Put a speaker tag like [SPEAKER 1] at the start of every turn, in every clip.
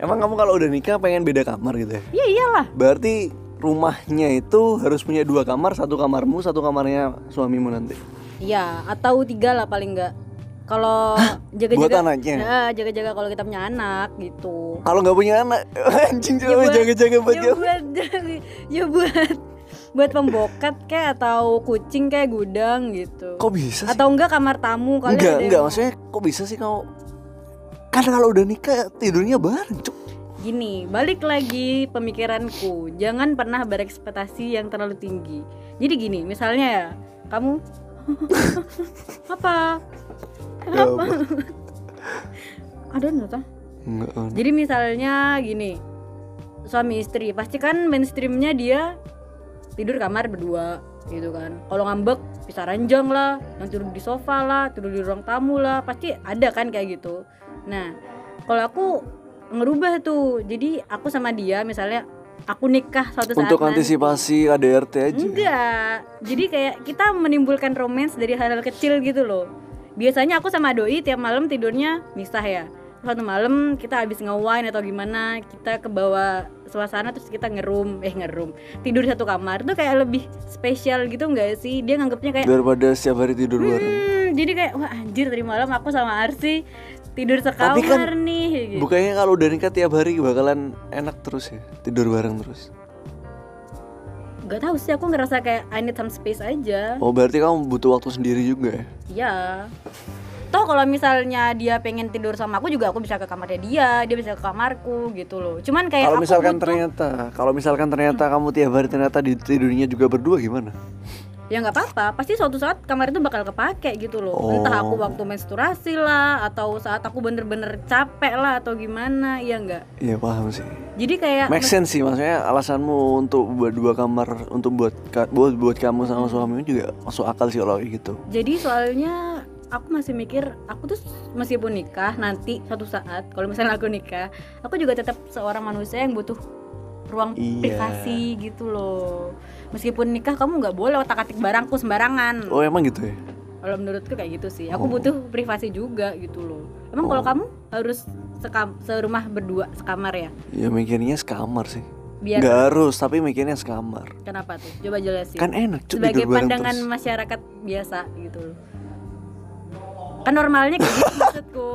[SPEAKER 1] Emang kamu kalau udah nikah pengen beda kamar gitu ya?
[SPEAKER 2] Iya iyalah.
[SPEAKER 1] Berarti rumahnya itu harus punya dua kamar, satu kamarmu, satu kamarnya suamimu nanti.
[SPEAKER 2] Iya, atau tiga lah paling enggak. Kalau jaga-jaga
[SPEAKER 1] Buat anaknya?
[SPEAKER 2] Ya, jaga-jaga kalau kita punya anak gitu.
[SPEAKER 1] Kalau nggak punya anak, anjing
[SPEAKER 2] Ya
[SPEAKER 1] coba
[SPEAKER 2] buat-
[SPEAKER 1] jaga-jaga buat
[SPEAKER 2] ya
[SPEAKER 1] dia.
[SPEAKER 2] buat ya buat buat pembokat kayak atau kucing kayak gudang gitu.
[SPEAKER 1] Kok bisa sih?
[SPEAKER 2] Atau enggak kamar tamu kali
[SPEAKER 1] enggak,
[SPEAKER 2] ada yang-
[SPEAKER 1] enggak, maksudnya kok bisa sih kamu Kan kalau udah nikah tidurnya bareng, Cuk.
[SPEAKER 2] Gini, balik lagi pemikiranku. Jangan pernah berekspektasi yang terlalu tinggi. Jadi gini, misalnya ya, kamu apa? Kenapa? Ada nota?
[SPEAKER 1] Enggak. An.
[SPEAKER 2] Jadi misalnya gini, suami istri pasti kan mainstreamnya dia tidur kamar berdua gitu kan. Kalau ngambek bisa ranjang lah, yang tidur di sofa lah, tidur di ruang tamu lah, pasti ada kan kayak gitu. Nah, kalau aku ngerubah tuh, jadi aku sama dia misalnya aku nikah suatu saat
[SPEAKER 1] Untuk
[SPEAKER 2] nanti.
[SPEAKER 1] antisipasi ADRT aja.
[SPEAKER 2] Enggak. Jadi kayak kita menimbulkan romance dari hal-hal kecil gitu loh. Biasanya aku sama doi tiap malam tidurnya misah ya. Suatu malam kita habis nge-wine atau gimana, kita ke bawah suasana terus kita ngerum, eh ngerum. Tidur satu kamar tuh kayak lebih spesial gitu enggak sih? Dia nganggapnya kayak
[SPEAKER 1] Daripada setiap hari tidur bareng.
[SPEAKER 2] hmm, jadi kayak wah anjir tadi malam aku sama Arsi tidur sekamar
[SPEAKER 1] Tapi kan
[SPEAKER 2] nih gitu.
[SPEAKER 1] Bukannya kalau udah nikah tiap hari bakalan enak terus ya, tidur bareng terus.
[SPEAKER 2] Gak tahu sih aku ngerasa kayak I need some space aja.
[SPEAKER 1] Oh, berarti kamu butuh waktu sendiri juga ya?
[SPEAKER 2] Ya. Toh kalau misalnya dia pengen tidur sama aku juga aku bisa ke kamarnya dia, dia bisa ke kamarku gitu loh. Cuman kayak
[SPEAKER 1] Kalau
[SPEAKER 2] aku
[SPEAKER 1] misalkan
[SPEAKER 2] butuh-
[SPEAKER 1] ternyata, kalau misalkan ternyata kamu tiap hari ternyata di tidurnya juga berdua gimana?
[SPEAKER 2] ya nggak apa-apa, pasti suatu saat kamar itu bakal kepake gitu loh.
[SPEAKER 1] Oh.
[SPEAKER 2] Entah aku waktu menstruasi lah atau saat aku bener-bener capek lah atau gimana, ya nggak.
[SPEAKER 1] Iya paham sih.
[SPEAKER 2] Jadi kayak
[SPEAKER 1] Make sense sih maksudnya alasanmu untuk buat dua kamar untuk buat ka- buat buat kamu sama suamimu juga masuk akal sih kalau kayak gitu.
[SPEAKER 2] Jadi soalnya aku masih mikir aku tuh meskipun nikah nanti suatu saat kalau misalnya aku nikah, aku juga tetap seorang manusia yang butuh ruang
[SPEAKER 1] Iya.
[SPEAKER 2] privasi gitu loh. Meskipun nikah kamu nggak boleh otak-atik barangku sembarangan.
[SPEAKER 1] Oh emang gitu ya?
[SPEAKER 2] Kalau menurutku kayak gitu sih. Aku
[SPEAKER 1] Oh.
[SPEAKER 2] butuh privasi juga gitu loh. Emang kalau
[SPEAKER 1] Oh.
[SPEAKER 2] kamu harus sekam, serumah berdua sekamar ya?
[SPEAKER 1] Ya mikirnya sekamar sih.
[SPEAKER 2] Biar-
[SPEAKER 1] Nggak harus tapi mikirnya sekamar.
[SPEAKER 2] Kenapa tuh? Coba jelasin.
[SPEAKER 1] Kan enak cuy
[SPEAKER 2] sebagai
[SPEAKER 1] tidur bareng
[SPEAKER 2] pandangan
[SPEAKER 1] terus.
[SPEAKER 2] masyarakat biasa gitu loh kan normalnya kayak gitu maksudku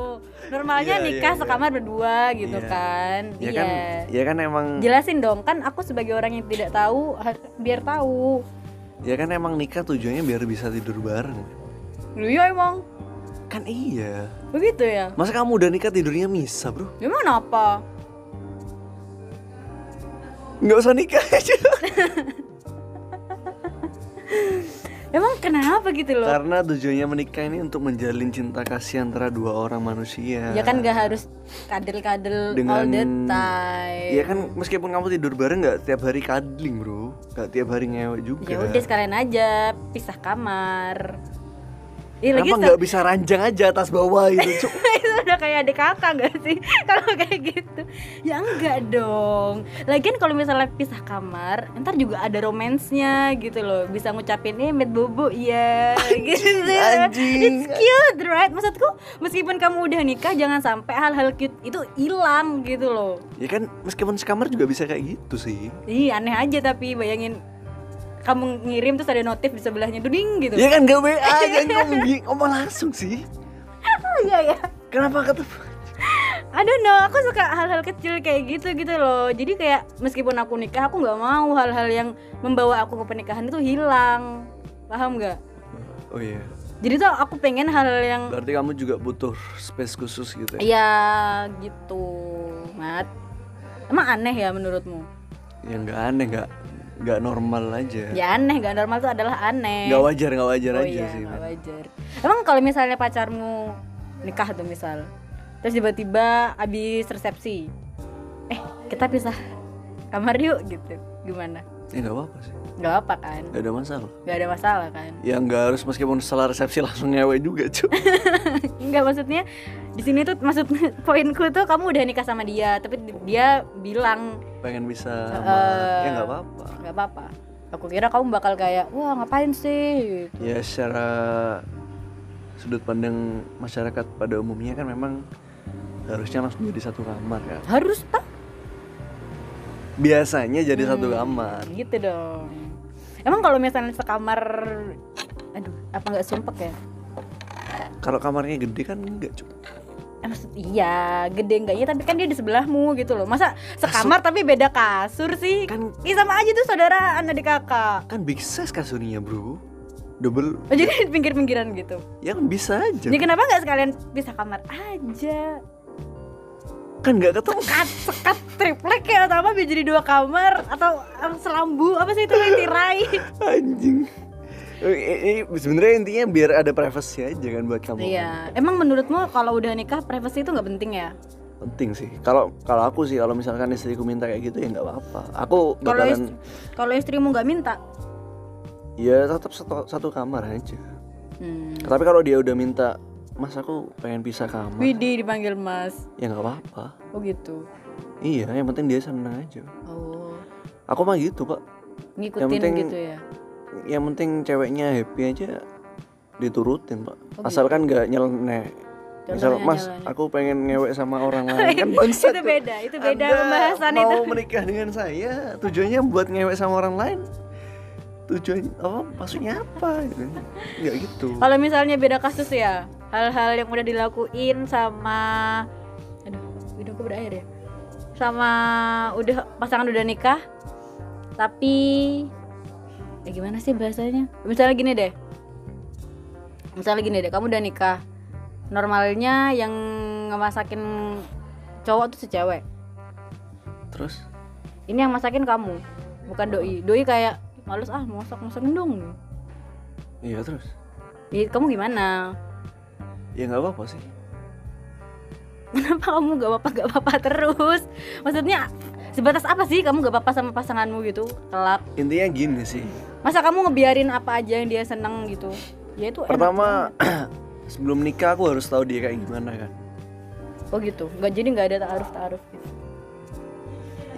[SPEAKER 1] Iya,
[SPEAKER 2] normalnya
[SPEAKER 1] iya,
[SPEAKER 2] nikah
[SPEAKER 1] iya.
[SPEAKER 2] sekamar berdua gitu
[SPEAKER 1] Iya.
[SPEAKER 2] kan
[SPEAKER 1] Ya
[SPEAKER 2] iya
[SPEAKER 1] kan, ya kan emang,
[SPEAKER 2] jelasin dong kan aku sebagai orang yang tidak tahu har- biar tahu
[SPEAKER 1] ya kan emang nikah tujuannya biar bisa tidur bareng.
[SPEAKER 2] lu ya emang
[SPEAKER 1] Kan iya.
[SPEAKER 2] begitu ya
[SPEAKER 1] Masa kamu udah nikah tidurnya misa bro?
[SPEAKER 2] emang kenapa
[SPEAKER 1] Nggak usah nikah aja.
[SPEAKER 2] emang kenapa gitu loh
[SPEAKER 1] Karena tujuannya menikah ini untuk menjalin cinta kasih antara dua orang manusia.
[SPEAKER 2] ya kan gak harus kadel-kadel all
[SPEAKER 1] Dengan-
[SPEAKER 2] the time
[SPEAKER 1] Iya kan meskipun kamu tidur bareng nggak tiap hari cuddling bro, nggak tiap hari ngewek juga.
[SPEAKER 2] ya udah sekalian aja pisah kamar Ih, lagi
[SPEAKER 1] Kenapa
[SPEAKER 2] se-
[SPEAKER 1] nggak bisa ranjang aja atas bawah gitu? Cuk?
[SPEAKER 2] itu udah kayak adik kakak gak sih kalau kayak gitu ya enggak dong lagian kalau misalnya pisah kamar ntar juga ada romansnya gitu loh bisa ngucapin eh met bobo ya gitu
[SPEAKER 1] anjing.
[SPEAKER 2] it's cute right maksudku meskipun kamu udah nikah jangan sampai hal-hal cute itu hilang gitu loh
[SPEAKER 1] ya kan meskipun sekamar juga bisa kayak gitu sih.
[SPEAKER 2] ih aneh aja tapi bayangin kamu ngirim terus ada notif di sebelahnya duding gitu
[SPEAKER 1] Ya kan nggak WA, jangan ngomong, bi- ngomong langsung sih.
[SPEAKER 2] Ah, iya ya
[SPEAKER 1] Kenapa ketemu?
[SPEAKER 2] I don't know, aku suka hal-hal kecil kayak gitu gitu loh. Jadi kayak meskipun aku nikah, aku nggak mau hal-hal yang membawa aku ke pernikahan itu hilang. Paham nggak?
[SPEAKER 1] Oh iya,
[SPEAKER 2] Jadi tuh aku pengen hal-hal yang
[SPEAKER 1] berarti kamu juga butuh space khusus gitu ya?
[SPEAKER 2] ya gitu. Mat, emang aneh ya menurutmu?
[SPEAKER 1] Ya nggak aneh, nggak nggak normal aja.
[SPEAKER 2] Ya aneh, gak normal tuh adalah aneh.
[SPEAKER 1] Nggak wajar, nggak wajar
[SPEAKER 2] Oh
[SPEAKER 1] aja
[SPEAKER 2] iya,
[SPEAKER 1] sih.
[SPEAKER 2] nggak wajar. Emang kalau misalnya pacarmu nikah tuh misal, terus tiba-tiba abis resepsi, eh kita pisah kamar yuk gitu, gimana?
[SPEAKER 1] Ya nggak apa-apa sih,
[SPEAKER 2] nggak apa kan
[SPEAKER 1] nggak ada masalah.
[SPEAKER 2] nggak ada masalah kan
[SPEAKER 1] Ya nggak harus meskipun setelah resepsi langsung ngewe juga cuy.
[SPEAKER 2] nggak maksudnya di sini tuh maksud poinku tuh kamu udah nikah sama dia tapi di- dia bilang
[SPEAKER 1] pengen bisa sama
[SPEAKER 2] Eh.
[SPEAKER 1] ya nggak apa-apa
[SPEAKER 2] nggak apa-apa aku kira kamu bakal kayak wah ngapain sih
[SPEAKER 1] ya secara sudut pandang masyarakat pada umumnya kan memang harusnya langsung jadi satu kamar kan
[SPEAKER 2] harus tak
[SPEAKER 1] biasanya jadi satu kamar
[SPEAKER 2] gitu dong emang kalau misalnya sekamar aduh apa nggak sumpek ya
[SPEAKER 1] kalau kamarnya gede kan enggak cukup
[SPEAKER 2] Eh, maksud iya gede enggak iya tapi kan dia di sebelahmu gitu loh masa sekamar tapi beda kasur sih
[SPEAKER 1] kan
[SPEAKER 2] Ih sama aja tuh saudara anak di kakak
[SPEAKER 1] kan big size kasurnya bro double
[SPEAKER 2] Oh, jadi di pinggir-pinggiran gitu
[SPEAKER 1] ya kan bisa aja
[SPEAKER 2] jadi kenapa nggak sekalian bisa kamar aja
[SPEAKER 1] kan nggak ketemu
[SPEAKER 2] sekat sekat triplek ya atau apa biar jadi dua kamar atau eh, selambu apa sih itu yang tirai
[SPEAKER 1] anjing Eh, eh, sebenarnya intinya biar ada privacy aja kan buat kamu
[SPEAKER 2] iya emang menurutmu kalau udah nikah privasi itu nggak penting ya
[SPEAKER 1] penting sih kalau kalau aku sih kalau misalkan istriku minta kayak gitu ya nggak apa-apa aku
[SPEAKER 2] kalau
[SPEAKER 1] bakalan
[SPEAKER 2] istri, kalau istrimu nggak minta
[SPEAKER 1] ya tetap satu, satu kamar aja
[SPEAKER 2] hmm.
[SPEAKER 1] tapi kalau dia udah minta mas aku pengen pisah kamar
[SPEAKER 2] Widih dipanggil mas
[SPEAKER 1] ya nggak apa-apa
[SPEAKER 2] oh gitu
[SPEAKER 1] iya yang penting dia senang aja
[SPEAKER 2] oh
[SPEAKER 1] aku mah gitu pak
[SPEAKER 2] ngikutin
[SPEAKER 1] Yang penting-
[SPEAKER 2] gitu ya
[SPEAKER 1] yang penting ceweknya happy aja diturutin pak
[SPEAKER 2] Oh,
[SPEAKER 1] asalkan nggak nyeleneh misal
[SPEAKER 2] Contohnya
[SPEAKER 1] mas
[SPEAKER 2] nyeleneh."
[SPEAKER 1] aku pengen ngewek sama orang lain kan bangsat
[SPEAKER 2] itu
[SPEAKER 1] tuh.
[SPEAKER 2] beda itu beda
[SPEAKER 1] Anda
[SPEAKER 2] pembahasan
[SPEAKER 1] mau
[SPEAKER 2] itu
[SPEAKER 1] menikah dengan saya tujuannya buat ngewek sama orang lain tujuan apa maksudnya apa gitu nggak gitu
[SPEAKER 2] kalau misalnya beda kasus ya hal-hal yang udah dilakuin sama aduh hidungku berair ya sama udah pasangan udah nikah tapi ya gimana sih bahasanya misalnya gini deh misalnya gini deh kamu udah nikah normalnya yang ngemasakin cowok tuh si cewek
[SPEAKER 1] terus
[SPEAKER 2] ini yang masakin kamu bukan doi doi kayak males ah masak masakin dong
[SPEAKER 1] iya terus
[SPEAKER 2] Ya, kamu gimana
[SPEAKER 1] ya nggak apa-apa sih
[SPEAKER 2] kenapa kamu gak apa-apa gak apa-apa terus maksudnya sebatas apa sih kamu gak apa-apa sama pasanganmu gitu kelak
[SPEAKER 1] intinya gini sih
[SPEAKER 2] masa kamu ngebiarin apa aja yang dia seneng gitu ya itu enak
[SPEAKER 1] pertama sebelum nikah aku harus tahu dia kayak gimana kan
[SPEAKER 2] banget. oh gitu nggak jadi nggak ada taaruf taaruf gitu.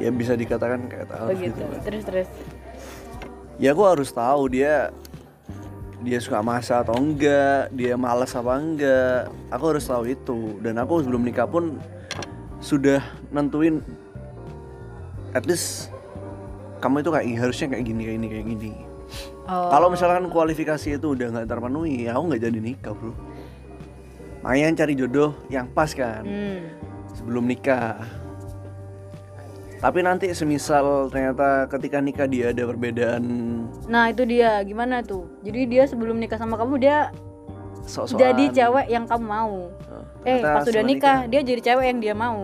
[SPEAKER 1] ya bisa dikatakan kayak tahu
[SPEAKER 2] oh gitu
[SPEAKER 1] gitu kan.
[SPEAKER 2] terus terus
[SPEAKER 1] ya aku harus tahu dia dia suka masak atau enggak dia malas apa enggak aku harus tahu itu dan aku sebelum nikah pun sudah nentuin at least kamu itu kayak harusnya kayak gini kayak gini kayak gini
[SPEAKER 2] oh
[SPEAKER 1] kalau misalkan kualifikasi itu udah nggak terpenuhi ya aku nggak jadi nikah bro Mayan cari jodoh yang pas kan
[SPEAKER 2] hmm.
[SPEAKER 1] sebelum nikah. Tapi nanti semisal ternyata ketika nikah dia ada perbedaan
[SPEAKER 2] nah itu dia gimana tuh jadi dia sebelum nikah sama kamu dia
[SPEAKER 1] sok-sokan.
[SPEAKER 2] jadi cewek yang kamu mau
[SPEAKER 1] Nah,
[SPEAKER 2] eh
[SPEAKER 1] ternyata
[SPEAKER 2] pas udah
[SPEAKER 1] setelah
[SPEAKER 2] nikah, dia jadi cewek yang dia mau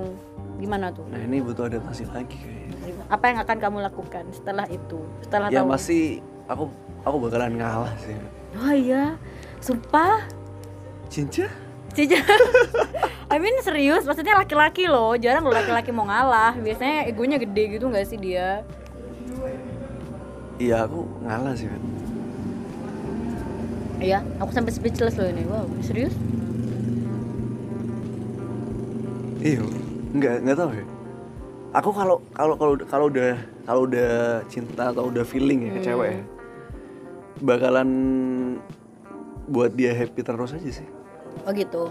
[SPEAKER 2] gimana tuh
[SPEAKER 1] Nah, ini butuh adaptasi lagi kayaknya.
[SPEAKER 2] apa yang akan kamu lakukan setelah itu setelah
[SPEAKER 1] Ya
[SPEAKER 2] tahu
[SPEAKER 1] pasti aku aku bakalan ngalah sih.
[SPEAKER 2] oh iya sumpah
[SPEAKER 1] Cinca?
[SPEAKER 2] Cica I mean serius maksudnya laki-laki loh jarang loh laki-laki mau ngalah biasanya egonya gede gitu nggak sih dia
[SPEAKER 1] Iya, aku ngalah sih. Fit.
[SPEAKER 2] iya aku sampai speechless loh ini wow serius
[SPEAKER 1] Iya, nggak nggak tahu ya. Aku kalau kalau kalau kalau udah kalau udah cinta atau udah feeling ya
[SPEAKER 2] Hmm.
[SPEAKER 1] ke cewek, ya, bakalan buat dia happy terus aja sih.
[SPEAKER 2] oh gitu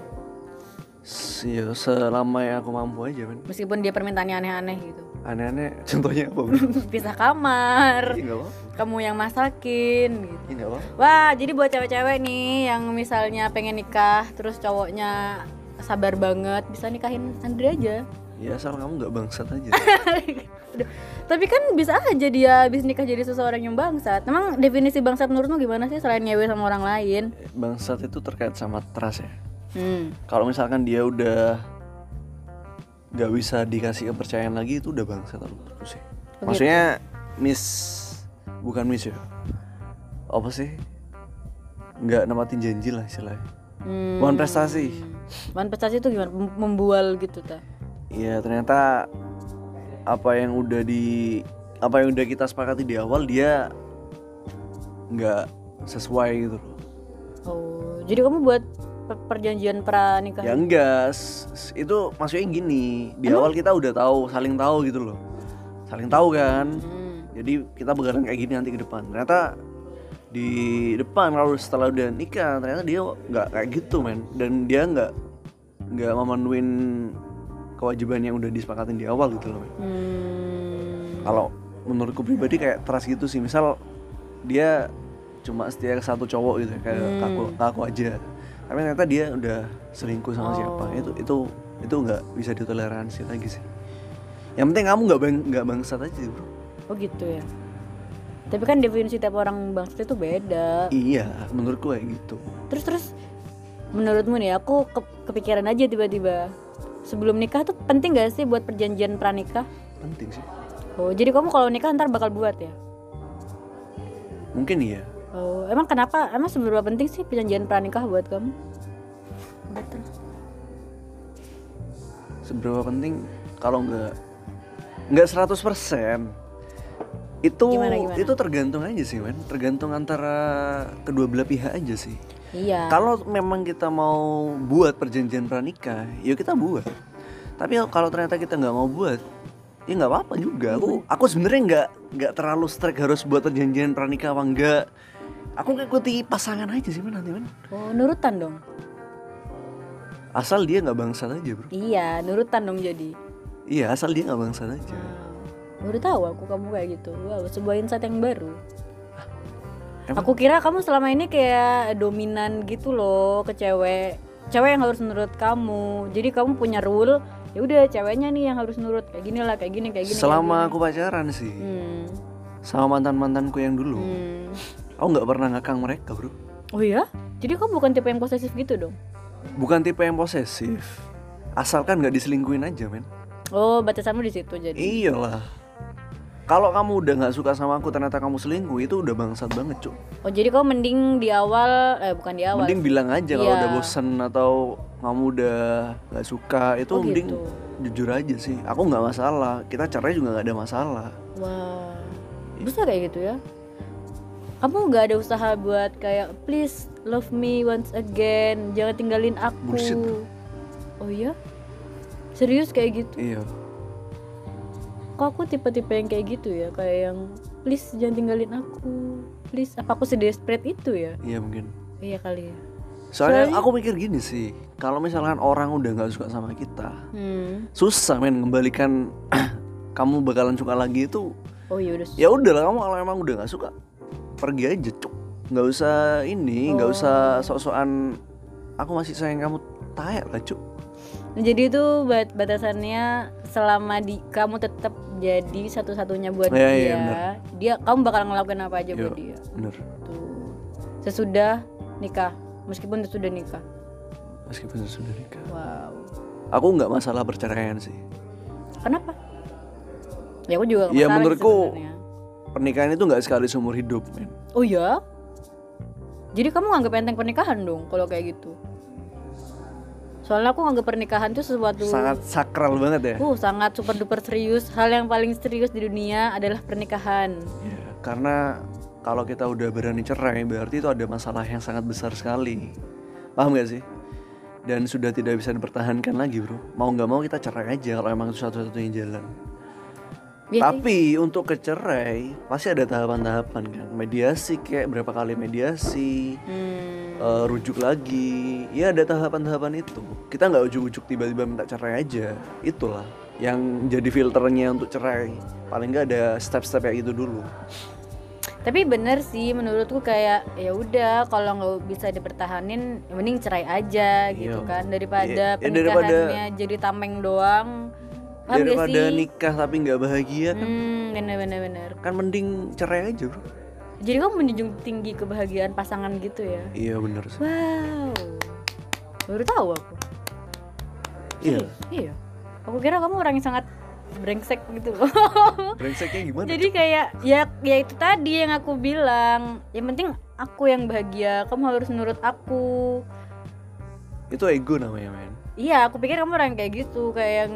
[SPEAKER 1] S- Ya, selama yang aku mampu aja men
[SPEAKER 2] meskipun dia permintaannya aneh-aneh gitu
[SPEAKER 1] aneh-aneh contohnya apa bro?
[SPEAKER 2] pisah kamar
[SPEAKER 1] Iya nggak apa
[SPEAKER 2] kamu yang masakin gitu
[SPEAKER 1] Iya nggak apa
[SPEAKER 2] Wah, jadi buat cewek-cewek nih yang misalnya pengen nikah, terus cowoknya sabar banget, bisa nikahin Andre aja.
[SPEAKER 1] Ya asal kamu nggak bangsat aja
[SPEAKER 2] Aduh, Tapi kan bisa aja dia habis nikah jadi seseorang yang bangsat. Emang definisi bangsat menurutmu gimana sih selain nyewe sama orang lain?
[SPEAKER 1] Bangsat itu terkait sama trust ya
[SPEAKER 2] Hmm.
[SPEAKER 1] Kalau misalkan dia udah nggak bisa dikasih kepercayaan lagi itu udah bangsat kalau menurutku sih Maksudnya miss Bukan miss ya Apa sih? Nggak nempatin janji lah istilahnya
[SPEAKER 2] Hmm.
[SPEAKER 1] Bukan prestasi
[SPEAKER 2] Manifestasi itu gimana? Mem- Membual gitu ta.
[SPEAKER 1] Iya ternyata apa yang udah di apa yang udah kita sepakati di awal dia nggak sesuai gitu loh.
[SPEAKER 2] Oh, jadi kamu buat per- perjanjian pranikah?
[SPEAKER 1] Ya enggak s- s- itu maksudnya gini di awal kita udah tahu saling tahu gitu loh saling tahu kan
[SPEAKER 2] Hmm.
[SPEAKER 1] jadi kita bakalan kayak gini nanti ke depan ternyata di depan kalau setelah udah nikah ternyata dia nggak kayak gitu men dan dia nggak nggak memenuhi kewajiban yang udah disepakatin di awal gitu loh men.
[SPEAKER 2] Hmm,
[SPEAKER 1] kalau menurutku pribadi kayak trust gitu sih misal dia cuma setia ke satu cowok gitu kayak
[SPEAKER 2] Hmm.
[SPEAKER 1] ke aku ke aku aja tapi ternyata dia udah selingkuh sama siapa
[SPEAKER 2] Oh.
[SPEAKER 1] itu itu itu nggak bisa ditoleransi lagi sih yang penting kamu nggak bang nggak bangsat aja sih, bro
[SPEAKER 2] oh gitu ya. Tapi kan definisi tiap orang bangsat itu beda.
[SPEAKER 1] iya menurutku kayak gitu
[SPEAKER 2] Terus terus menurutmu nih aku ke- kepikiran aja tiba-tiba. Sebelum nikah tuh penting gak sih buat perjanjian pranikah?
[SPEAKER 1] penting sih
[SPEAKER 2] Oh, jadi kamu kalau nikah ntar bakal buat ya?
[SPEAKER 1] mungkin iya
[SPEAKER 2] Oh, emang kenapa? Emang seberapa penting sih perjanjian pranikah buat kamu?
[SPEAKER 1] seberapa penting kalau nggak nggak 100% itu
[SPEAKER 2] Gimana, gimana?
[SPEAKER 1] itu tergantung aja sih men tergantung antara kedua belah pihak aja sih
[SPEAKER 2] Iya.
[SPEAKER 1] Kalau memang kita mau buat perjanjian pranikah, ya kita buat. Tapi kalau ternyata kita nggak mau buat, ya nggak apa-apa juga.
[SPEAKER 2] Iya.
[SPEAKER 1] Aku aku sebenarnya nggak nggak terlalu strict harus buat perjanjian pranikah apa enggak. Aku ngikuti pasangan aja sih men nanti men.
[SPEAKER 2] Oh, nurutan dong.
[SPEAKER 1] Asal dia nggak bangsat aja bro.
[SPEAKER 2] Iya, nurutan dong jadi.
[SPEAKER 1] Iya asal dia nggak bangsat aja.
[SPEAKER 2] Wow. Baru tahu aku kamu kayak gitu. Wow, sebuah insight yang baru.
[SPEAKER 1] emang?
[SPEAKER 2] Aku kira kamu selama ini kayak dominan gitu loh ke cewek. Cewek yang harus nurut kamu. Jadi kamu punya rule, ya udah ceweknya nih yang harus nurut. Kayak gini lah, kayak gini, kayak gini. kayak
[SPEAKER 1] Selama
[SPEAKER 2] gini.
[SPEAKER 1] aku pacaran sih
[SPEAKER 2] Hmm.
[SPEAKER 1] sama mantan mantanku yang dulu,
[SPEAKER 2] hmm.
[SPEAKER 1] aku nggak pernah ngakang mereka bro.
[SPEAKER 2] Oh iya? Jadi kamu bukan tipe yang posesif gitu dong.
[SPEAKER 1] Bukan tipe yang posesif. Asalkan nggak diselingkuin aja men.
[SPEAKER 2] Oh, batasanmu di situ jadi.
[SPEAKER 1] Iyalah. Kalau kamu udah nggak suka sama aku ternyata kamu selingkuh itu udah bangsat banget cuk.
[SPEAKER 2] Oh, jadi kamu mending di awal eh bukan di awal.
[SPEAKER 1] Mending bilang aja kalau
[SPEAKER 2] Iya.
[SPEAKER 1] udah bosen atau kamu udah nggak suka itu
[SPEAKER 2] Oh,
[SPEAKER 1] mending
[SPEAKER 2] gitu.
[SPEAKER 1] jujur aja sih. Aku nggak masalah. Kita cerai juga nggak ada masalah.
[SPEAKER 2] Wah, bisa kayak gitu ya? Kamu nggak ada usaha buat kayak please love me once again, jangan tinggalin aku.
[SPEAKER 1] Bullshit, bro.
[SPEAKER 2] Oh iya? Serius kayak gitu?
[SPEAKER 1] Iya.
[SPEAKER 2] Kok aku tipe-tipe yang kayak gitu ya, kayak yang please jangan tinggalin aku. Please, apa aku sedesperate itu ya?
[SPEAKER 1] Iya mungkin.
[SPEAKER 2] Iya kali ya.
[SPEAKER 1] Soalnya
[SPEAKER 2] Soalnya-
[SPEAKER 1] aku mikir gini sih. Kalau misalkan orang udah nggak suka sama kita,
[SPEAKER 2] Hmm.
[SPEAKER 1] susah men ngembalikan kamu bakalan suka lagi itu
[SPEAKER 2] Oh iya udah.
[SPEAKER 1] ya udahlah kamu kalau emang udah nggak suka pergi aja cuk nggak usah ini nggak usah sok-sokan aku masih sayang kamu tayak lah cuk
[SPEAKER 2] Nah, jadi itu bat batasannya selama di kamu tetap jadi satu-satunya buat
[SPEAKER 1] Iya,
[SPEAKER 2] dia.
[SPEAKER 1] iya, benar.
[SPEAKER 2] dia kamu bakal ngelakuin apa aja buat
[SPEAKER 1] Yo.
[SPEAKER 2] dia. ya.
[SPEAKER 1] bener
[SPEAKER 2] Tuh. Sesudah nikah, meskipun sudah nikah.
[SPEAKER 1] meskipun sudah nikah
[SPEAKER 2] Wow.
[SPEAKER 1] aku nggak masalah perceraian sih
[SPEAKER 2] Kenapa? Ya aku juga nggak
[SPEAKER 1] Ya,
[SPEAKER 2] masalah sih
[SPEAKER 1] menurutku-
[SPEAKER 2] sebenarnya.
[SPEAKER 1] pernikahan itu nggak sekali seumur hidup men
[SPEAKER 2] Oh ya? Jadi kamu nganggap enteng pernikahan dong kalau kayak gitu. Soalnya aku nganggap pernikahan tuh sesuatu
[SPEAKER 1] sangat sakral banget ya
[SPEAKER 2] Uh, sangat super duper serius. Hal yang paling serius di dunia adalah pernikahan.
[SPEAKER 1] Ya, karena kalau kita udah berani cerai berarti itu ada masalah yang sangat besar sekali paham gak sih dan sudah tidak bisa dipertahankan lagi bro mau nggak mau kita cerai aja kalau emang itu satu-satunya jalan
[SPEAKER 2] Iya sih.
[SPEAKER 1] Tapi untuk ke cerai pasti ada tahapan-tahapan kan. Mediasi kayak berapa kali mediasi,
[SPEAKER 2] Hmm,
[SPEAKER 1] eh, rujuk lagi. Ya ada tahapan-tahapan itu. Kita nggak ujuk-ujuk tiba-tiba minta cerai aja. Itulah yang jadi filternya untuk cerai. Paling nggak ada step-step kayak gitu dulu.
[SPEAKER 2] tapi bener sih menurutku kayak ya udah kalau nggak bisa dipertahanin ya mending cerai aja gitu
[SPEAKER 1] Iya.
[SPEAKER 2] kan daripada
[SPEAKER 1] Iya, ya daripada-
[SPEAKER 2] pernikahannya jadi tameng doang. Paham gak
[SPEAKER 1] Daripada
[SPEAKER 2] sih?
[SPEAKER 1] nikah tapi nggak bahagia kan,
[SPEAKER 2] Hmm, bener bener bener.
[SPEAKER 1] kan mending cerai aja bro.
[SPEAKER 2] Jadi kamu menjunjung tinggi kebahagiaan pasangan gitu ya.
[SPEAKER 1] Iya bener sih.
[SPEAKER 2] Wow. Baru tahu aku.
[SPEAKER 1] Iya.
[SPEAKER 2] Iya. Aku kira kamu orang yang sangat brengsek gitu loh.
[SPEAKER 1] Brengseknya gimana?
[SPEAKER 2] Jadi kayak ya ya itu tadi yang aku bilang. Yang penting aku yang bahagia. Kamu harus nurut aku.
[SPEAKER 1] Itu ego namanya men.
[SPEAKER 2] Iya, aku pikir kamu orang kayak gitu, kayak yang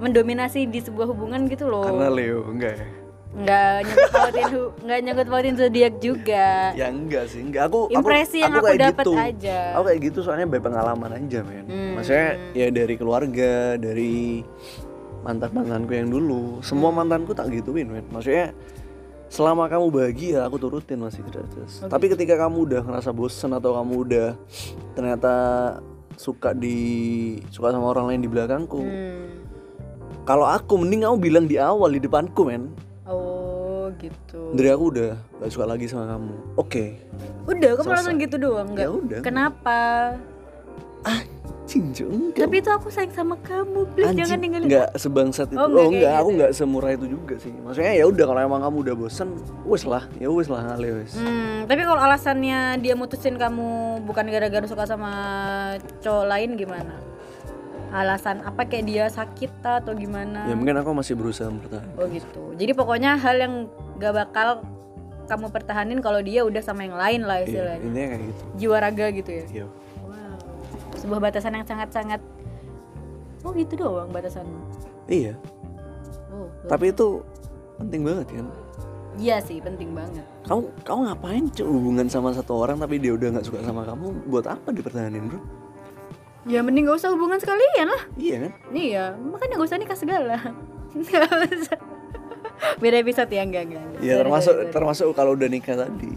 [SPEAKER 2] mendominasi di sebuah hubungan gitu loh.
[SPEAKER 1] Karena Leo enggak ya.
[SPEAKER 2] Nggak nyangkut pautin hu- nggak nyangkut pautin zodiak juga.
[SPEAKER 1] Ya enggak sih, enggak aku aku-
[SPEAKER 2] Impresi yang aku
[SPEAKER 1] kayak
[SPEAKER 2] dapat
[SPEAKER 1] gitu.
[SPEAKER 2] aja.
[SPEAKER 1] Aku kayak gitu soalnya by pengalaman aja men.
[SPEAKER 2] Hmm.
[SPEAKER 1] Maksudnya ya dari keluarga, dari mantan mantanku yang dulu, semua mantanku tak gituin men. Maksudnya selama kamu bahagia aku turutin masih tidak terus.
[SPEAKER 2] Oh,
[SPEAKER 1] Tapi
[SPEAKER 2] gitu.
[SPEAKER 1] ketika kamu udah ngerasa bosen atau kamu udah ternyata suka di suka sama orang lain di belakangku,
[SPEAKER 2] Hmm.
[SPEAKER 1] Kalau aku mending kamu bilang di awal di depanku men.
[SPEAKER 2] oh gitu
[SPEAKER 1] Dari aku udah gak suka lagi sama kamu. Oke.
[SPEAKER 2] udah kamu langsung gitu doang nggak
[SPEAKER 1] Ya udah.
[SPEAKER 2] kenapa
[SPEAKER 1] Anjing, Jo, Ah, enggak.
[SPEAKER 2] tapi itu aku sayang sama kamu please jangan
[SPEAKER 1] Ya Anjing,
[SPEAKER 2] ninggalin
[SPEAKER 1] nggak sebangsat itu. Oh,
[SPEAKER 2] Oh, nggak
[SPEAKER 1] enggak,
[SPEAKER 2] kayak gitu
[SPEAKER 1] aku nggak semurah itu juga sih. Maksudnya ya udah kalau emang kamu udah bosen, wes lah, ya wes lah ngalir wes.
[SPEAKER 2] Hmm, tapi kalau alasannya dia mutusin kamu bukan gara-gara suka sama cowok lain gimana? Alasan apa kayak dia sakit ah, atau gimana?
[SPEAKER 1] Ya mungkin aku masih berusaha bertahan.
[SPEAKER 2] Oh gitu. Jadi pokoknya hal yang gak bakal kamu pertahanin kalau dia udah sama yang lain lah
[SPEAKER 1] Iya,
[SPEAKER 2] istilahnya.
[SPEAKER 1] intinya kayak gitu.
[SPEAKER 2] Jiwa raga gitu ya.
[SPEAKER 1] Iya.
[SPEAKER 2] Wow. Sebuah batasan yang sangat-sangat Oh gitu doang batasanmu.
[SPEAKER 1] Iya.
[SPEAKER 2] Oh.
[SPEAKER 1] Tapi itu penting banget kan.
[SPEAKER 2] Iya sih, penting banget.
[SPEAKER 1] Kamu kamu ngapain cuy hubungan sama satu orang tapi dia udah nggak suka sama kamu? Buat apa dipertahanin bro?
[SPEAKER 2] Ya mending gak usah hubungan sekalian lah.
[SPEAKER 1] Iya kan?
[SPEAKER 2] Iya, makanya gak usah nikah segala. Nggak usah. Beda episode ya, enggak, enggak. enggak.
[SPEAKER 1] Iya
[SPEAKER 2] Sorry,
[SPEAKER 1] termasuk
[SPEAKER 2] sorry, sorry.
[SPEAKER 1] termasuk kalau udah nikah tadi.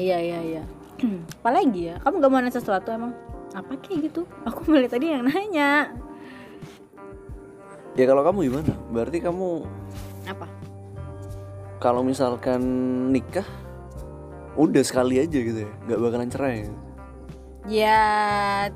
[SPEAKER 2] Iya, iya, iya. Apalagi ya, kamu gak mau nanya sesuatu emang? Apa kayak gitu? Aku melihat tadi yang nanya.
[SPEAKER 1] Ya kalau kamu gimana? Berarti kamu
[SPEAKER 2] Apa?
[SPEAKER 1] kalau misalkan nikah udah sekali aja gitu ya, nggak bakalan cerai. ya?
[SPEAKER 2] Ya,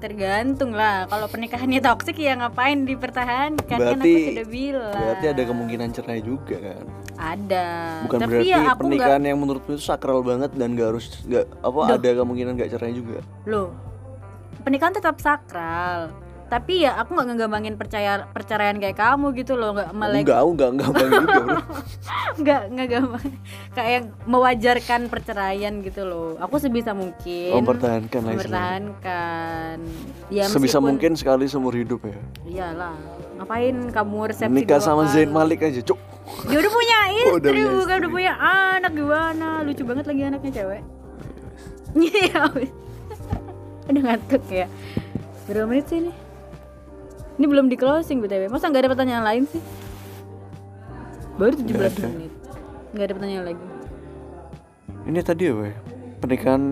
[SPEAKER 2] tergantung lah. Kalau pernikahannya toksik ya ngapain dipertahankan? kan aku
[SPEAKER 1] Berarti-
[SPEAKER 2] sudah bilang.
[SPEAKER 1] Berarti ada kemungkinan cerai juga kan?
[SPEAKER 2] Ada.
[SPEAKER 1] Bukan
[SPEAKER 2] Tapi
[SPEAKER 1] berarti
[SPEAKER 2] ya aku
[SPEAKER 1] pernikahan
[SPEAKER 2] nggak-
[SPEAKER 1] yang menurutku itu sakral banget dan gak harus nggak apa ada kemungkinan gak cerai juga.
[SPEAKER 2] Loh, pernikahan tetap sakral. Tapi ya aku nggak ngegambangin percaya perceraian kayak kamu gitu loh, nggak melek
[SPEAKER 1] Enggak, enggak, enggak bang juga bro.
[SPEAKER 2] nggak nggak gampang kayak yang mewajarkan perceraian gitu loh aku sebisa mungkin
[SPEAKER 1] Mempertahankan lah istilahnya.
[SPEAKER 2] mempertahankan ya
[SPEAKER 1] Sebisa
[SPEAKER 2] meskipun-
[SPEAKER 1] mungkin sekali seumur hidup ya.
[SPEAKER 2] iyalah ngapain kamu resepsi
[SPEAKER 1] Nikah
[SPEAKER 2] dua
[SPEAKER 1] sama
[SPEAKER 2] kali?
[SPEAKER 1] Zain Malik aja, cuk.
[SPEAKER 2] dia udah punya
[SPEAKER 1] Oh, udah
[SPEAKER 2] istri
[SPEAKER 1] punya
[SPEAKER 2] bukan udah punya anak gimana lucu banget lagi anaknya cewek iya wis. udah ngantuk ya berapa menit sih ini ini belum di closing btw masa nggak ada pertanyaan lain sih baru 17 menit nggak ada pertanyaan lagi
[SPEAKER 1] Ini tadi apa ya? Pernikahan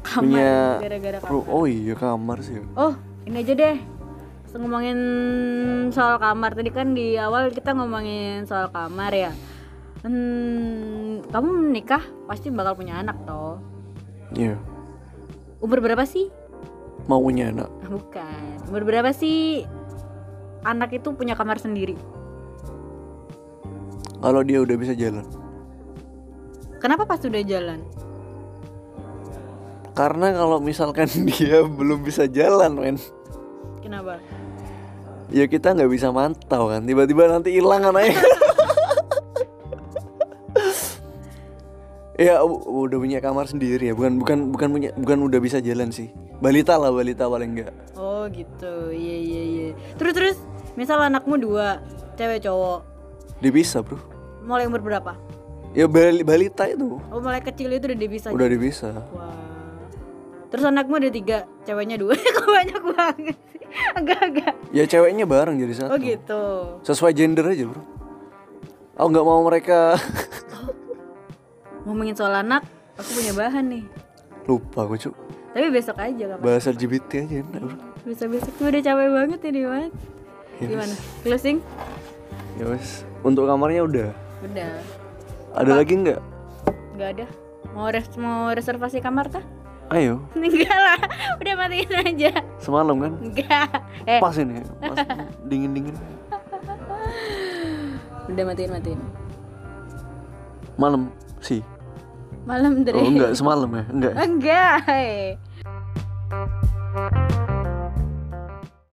[SPEAKER 2] kamar
[SPEAKER 1] punya
[SPEAKER 2] gara-gara kamar.
[SPEAKER 1] ru- Oh iya kamar sih.
[SPEAKER 2] Oh, ini aja deh. Ngomongin soal kamar tadi kan di awal kita ngomongin soal kamar ya. Hmm, kamu nikah pasti bakal punya anak toh.
[SPEAKER 1] Iya.
[SPEAKER 2] Umur berapa sih?
[SPEAKER 1] Mau punya anak.
[SPEAKER 2] Ah, Bukan. Umur berapa sih anak itu punya kamar sendiri?
[SPEAKER 1] Kalau dia udah bisa jalan.
[SPEAKER 2] Kenapa pas udah jalan?
[SPEAKER 1] Karena kalau misalkan dia belum bisa jalan, men.
[SPEAKER 2] Kenapa?
[SPEAKER 1] Ya kita nggak bisa mantau kan. Tiba-tiba nanti hilang kan, anaknya. Ya u- udah punya kamar sendiri ya, bukan bukan bukan punya bukan udah bisa jalan sih. Balita lah balita paling enggak.
[SPEAKER 2] Oh gitu. Iya iya iya. Terus terus misal anakmu dua, cewek cowok,
[SPEAKER 1] Dia bisa, Bro.
[SPEAKER 2] mulai umur berapa?
[SPEAKER 1] Ya bali- balita itu.
[SPEAKER 2] Oh mulai kecil itu udah dia bisa
[SPEAKER 1] Udah dia bisa.
[SPEAKER 2] Wah. Terus anakmu ada tiga, ceweknya dua. Kok banyak banget sih? Enggak, enggak.
[SPEAKER 1] Ya ceweknya bareng jadi satu.
[SPEAKER 2] Oh gitu.
[SPEAKER 1] Sesuai gender aja, Bro. Aku nggak mau mereka
[SPEAKER 2] Ngomongin soal anak, aku punya bahan nih.
[SPEAKER 1] lupa gue, Cuk.
[SPEAKER 2] Tapi besok aja kapan?
[SPEAKER 1] Bahasa LGBT aja enak, Bro.
[SPEAKER 2] Bisa besok tuh udah capek banget ini, Mas.
[SPEAKER 1] Ya,
[SPEAKER 2] Gimana? Closing?
[SPEAKER 1] Ya wes. Untuk kamarnya udah.
[SPEAKER 2] Udah.
[SPEAKER 1] Ada lagi nggak?
[SPEAKER 2] Enggak ada. Mau res- mau reservasi kamar kah?
[SPEAKER 1] Ayo,
[SPEAKER 2] Enggak lah. Udah matiin aja.
[SPEAKER 1] semalam kan?
[SPEAKER 2] Enggak. Eh,
[SPEAKER 1] Pas ini, pas dingin-dingin.
[SPEAKER 2] udah matiin matiin.
[SPEAKER 1] Malam Oh, sih.
[SPEAKER 2] Malam dari.
[SPEAKER 1] Oh enggak, semalam ya. Enggak.
[SPEAKER 2] Enggak. eh.